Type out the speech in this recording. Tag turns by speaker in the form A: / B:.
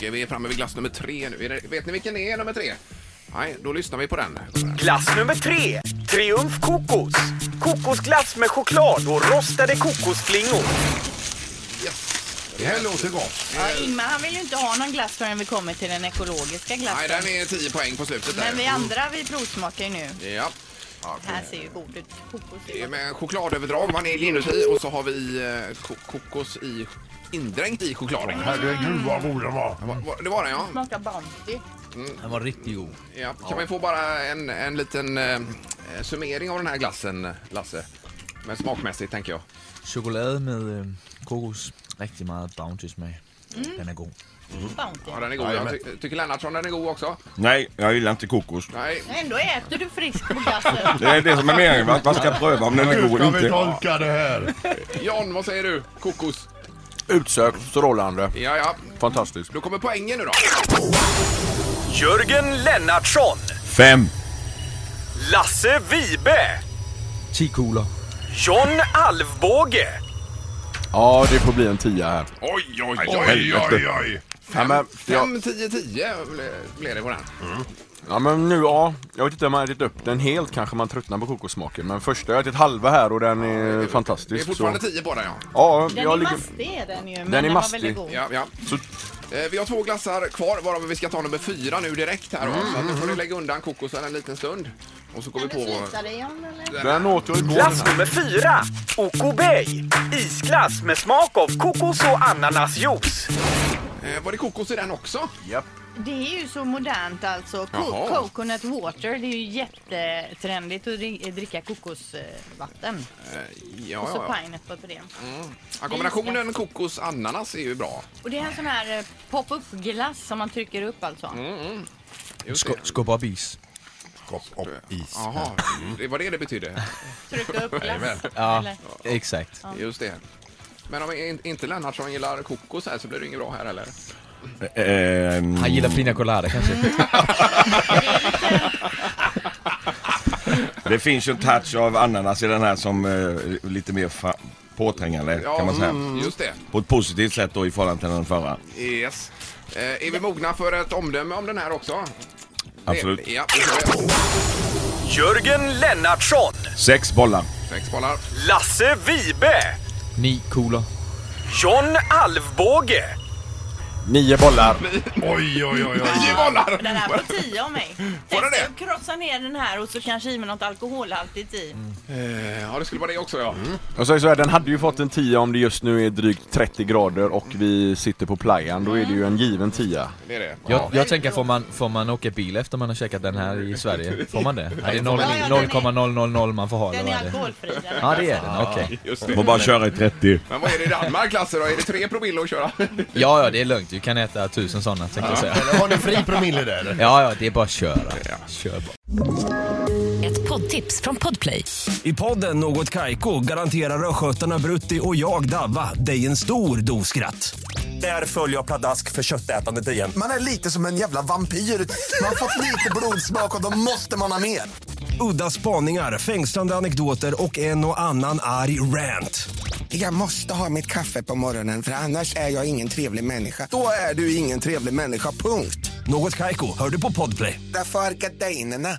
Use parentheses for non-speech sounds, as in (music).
A: Vi är framme vid glass nummer tre nu. Är det- Vet ni vilken är nummer tre? Nej, då lyssnar vi på den.
B: Glass nummer tre. Triumf kokos. Kokosglass med choklad och rostade kokosflingor.
C: Det här låter gott.
D: Ja, Ingmar han vill ju inte ha någon glass förrän vi kommer till den ekologiska
A: Nej,
D: glassen.
A: den är 10 poäng på slutet där.
D: Men vi andra vi provsmakar ju nu.
A: Ja.
D: Det här ser ju god ut. Kokos är
A: Det är
D: gott.
A: med chokladöverdrag, vanilj inuti och så har vi eh, ko kokos i, indränkt i chokladen.
C: Herregud vad god den var.
A: Va- va- Det var den ja.
D: Smakar Bounty.
A: Mm.
E: Den var riktigt god.
A: ja. Kan vi få bara en, en liten eh, summering av den här glassen, Lasse? Men smakmässigt tänker jag.
E: Choklad med eh, kokos. Riktigt mycket bounty-smak.
D: Mm.
E: Den är god.
D: Bounty.
A: Ja, den är god. Jag
C: Jajamän.
A: ty tycker Lennartsson den är god också.
F: Nej, jag gillar inte kokos.
A: Nej.
D: Ändå äter du frisk på
A: (laughs)
D: glassen.
F: Det är det som är meningen, va? att man ska pröva om den är
C: Hur
F: god
C: ska
F: eller
C: vi
F: inte.
C: tolka det här?
A: John, vad säger du? Kokos?
G: Utsökt, strålande.
A: Ja, ja.
G: Fantastiskt.
A: Då kommer poängen nu då.
B: Jörgen Lennartsson.
F: Fem.
B: Lasse Vibe.
E: 10 kulor.
B: John Alvbåge.
G: Ja, det får bli en tia här.
A: Oj, oj,
C: Oj, oj, oj.
G: Ja, men, jag,
A: 5, 10, 10 blev det på den.
G: ja, men nu, ja. Jag vet inte om man ätit upp den helt kanske man tröttnar på kokossmaken. Men första jag har ätit halva här och den är
A: Det är
G: fantastisk.
A: fortfarande
G: så,
A: 10 på den ja.
G: ja,
D: Den
G: jag
D: är
G: ligger,
D: mastig är den ju. Men
G: är
D: den, var
G: mastig.
D: väldigt god.
A: Ja, ja. Eh, Vi har två glassar kvar varav vi ska ta nummer fyra nu direkt här. va? Så att nu får du lägga undan kokosen en liten stund. Och så går vi
D: Kan du
A: på...
D: fisa dig om eller?
G: den åt jag igår.
B: Glass nummer fyra. Oko Bay. Isglass med smak av kokos och ananasjuice.
A: Eh, Var det kokos i den också?
G: Japp.
D: Det är ju så modernt alltså. Co-
A: Jaha.
D: Coconut water, det är ju jättetrendigt att dri- dricka kokosvatten.
A: Eh, Ja,
D: Och så
A: ja,
D: pineapple på det.
A: ja. Kombinationen kokos-ananas är ju bra.
D: Och det är en sån här eh, pop-up glass som man trycker upp alltså.
A: Mm. Just
E: Skub,
A: det.
E: skub upp is.
C: Kopp upp is.
A: Jaha, det var det det betydde. (laughs)
D: Trycka upp glass.
E: Ja,
D: Eller?
E: exakt.
A: Just det. Men om in- inte Lennartsson gillar kokos här så blir det inget bra här eller?
F: Ehm,
E: Han gillar pina colada kanske.
F: det finns ju en touch av ananas i den här som eh, lite mer fa- påträngande kan man säga.
A: mm, Just det.
F: På ett positivt sätt då i förhållande till den förra.
A: Yes. Eh, är vi mogna för ett omdöme om den här också?
F: Absolut.
A: Det, ja, det får vi.
B: Jörgen Lennartsson.
F: Sex bollar.
A: Sex bollar.
B: Lasse Vibe.
E: 9 kulor.
B: John Alvbåge.
G: Nio bollar.
C: Oj, oj, oj. oj.
A: Tio bollar!
D: Den här får 10 av mig.
A: Får den det?
D: Testa att krossa ner den här och så kanske i med något alkoholhaltigt i.
A: Eh, Ja, det skulle vara det också ja.
G: Jag säger så här, den hade ju fått en tia om det just nu är drygt 30 grader och vi sitter på playan. Då är det ju en given tia.
A: Det är det.
E: Jag, jag tänker, får man, får man åka bil efter man har käkat den här i Sverige? Får man det? Är det noll-
D: Ja, ja,
E: 0,000 man får ha eller
D: Den
E: vad
D: är
E: är det?
D: alkoholfri. Den
E: Ja, det är den. Okej.
A: Just
F: Får
A: det.
F: bara köra i 30.
A: Men vad är det i Danmark Lasse då? Är det tre promille att köra?
E: Ja, ja, det är lugnt. Du kan äta tusen sådana tänkte jag säga.
C: Eller Har ni fri promille där?
E: Ja, ja, det är bara att köra. Kör bara.
H: Ett poddtips från Podplay.
I: I podden Något Kaiko garanterar östgötarna Brutti och jag, Davva, dig en stor dos skratt. Där följer jag pladask för köttätandet igen.
J: Man är lite som en jävla vampyr. Man har fått lite blodsmak och då måste man ha mer.
I: Udda spaningar, fängslande anekdoter och en och annan arg rant.
J: Jag måste ha mitt kaffe på morgonen för annars är jag ingen trevlig människa. Då är du ingen trevlig människa, punkt.
I: Något Kaiko, hör du på Podplay.
J: Därför arkadeinerna.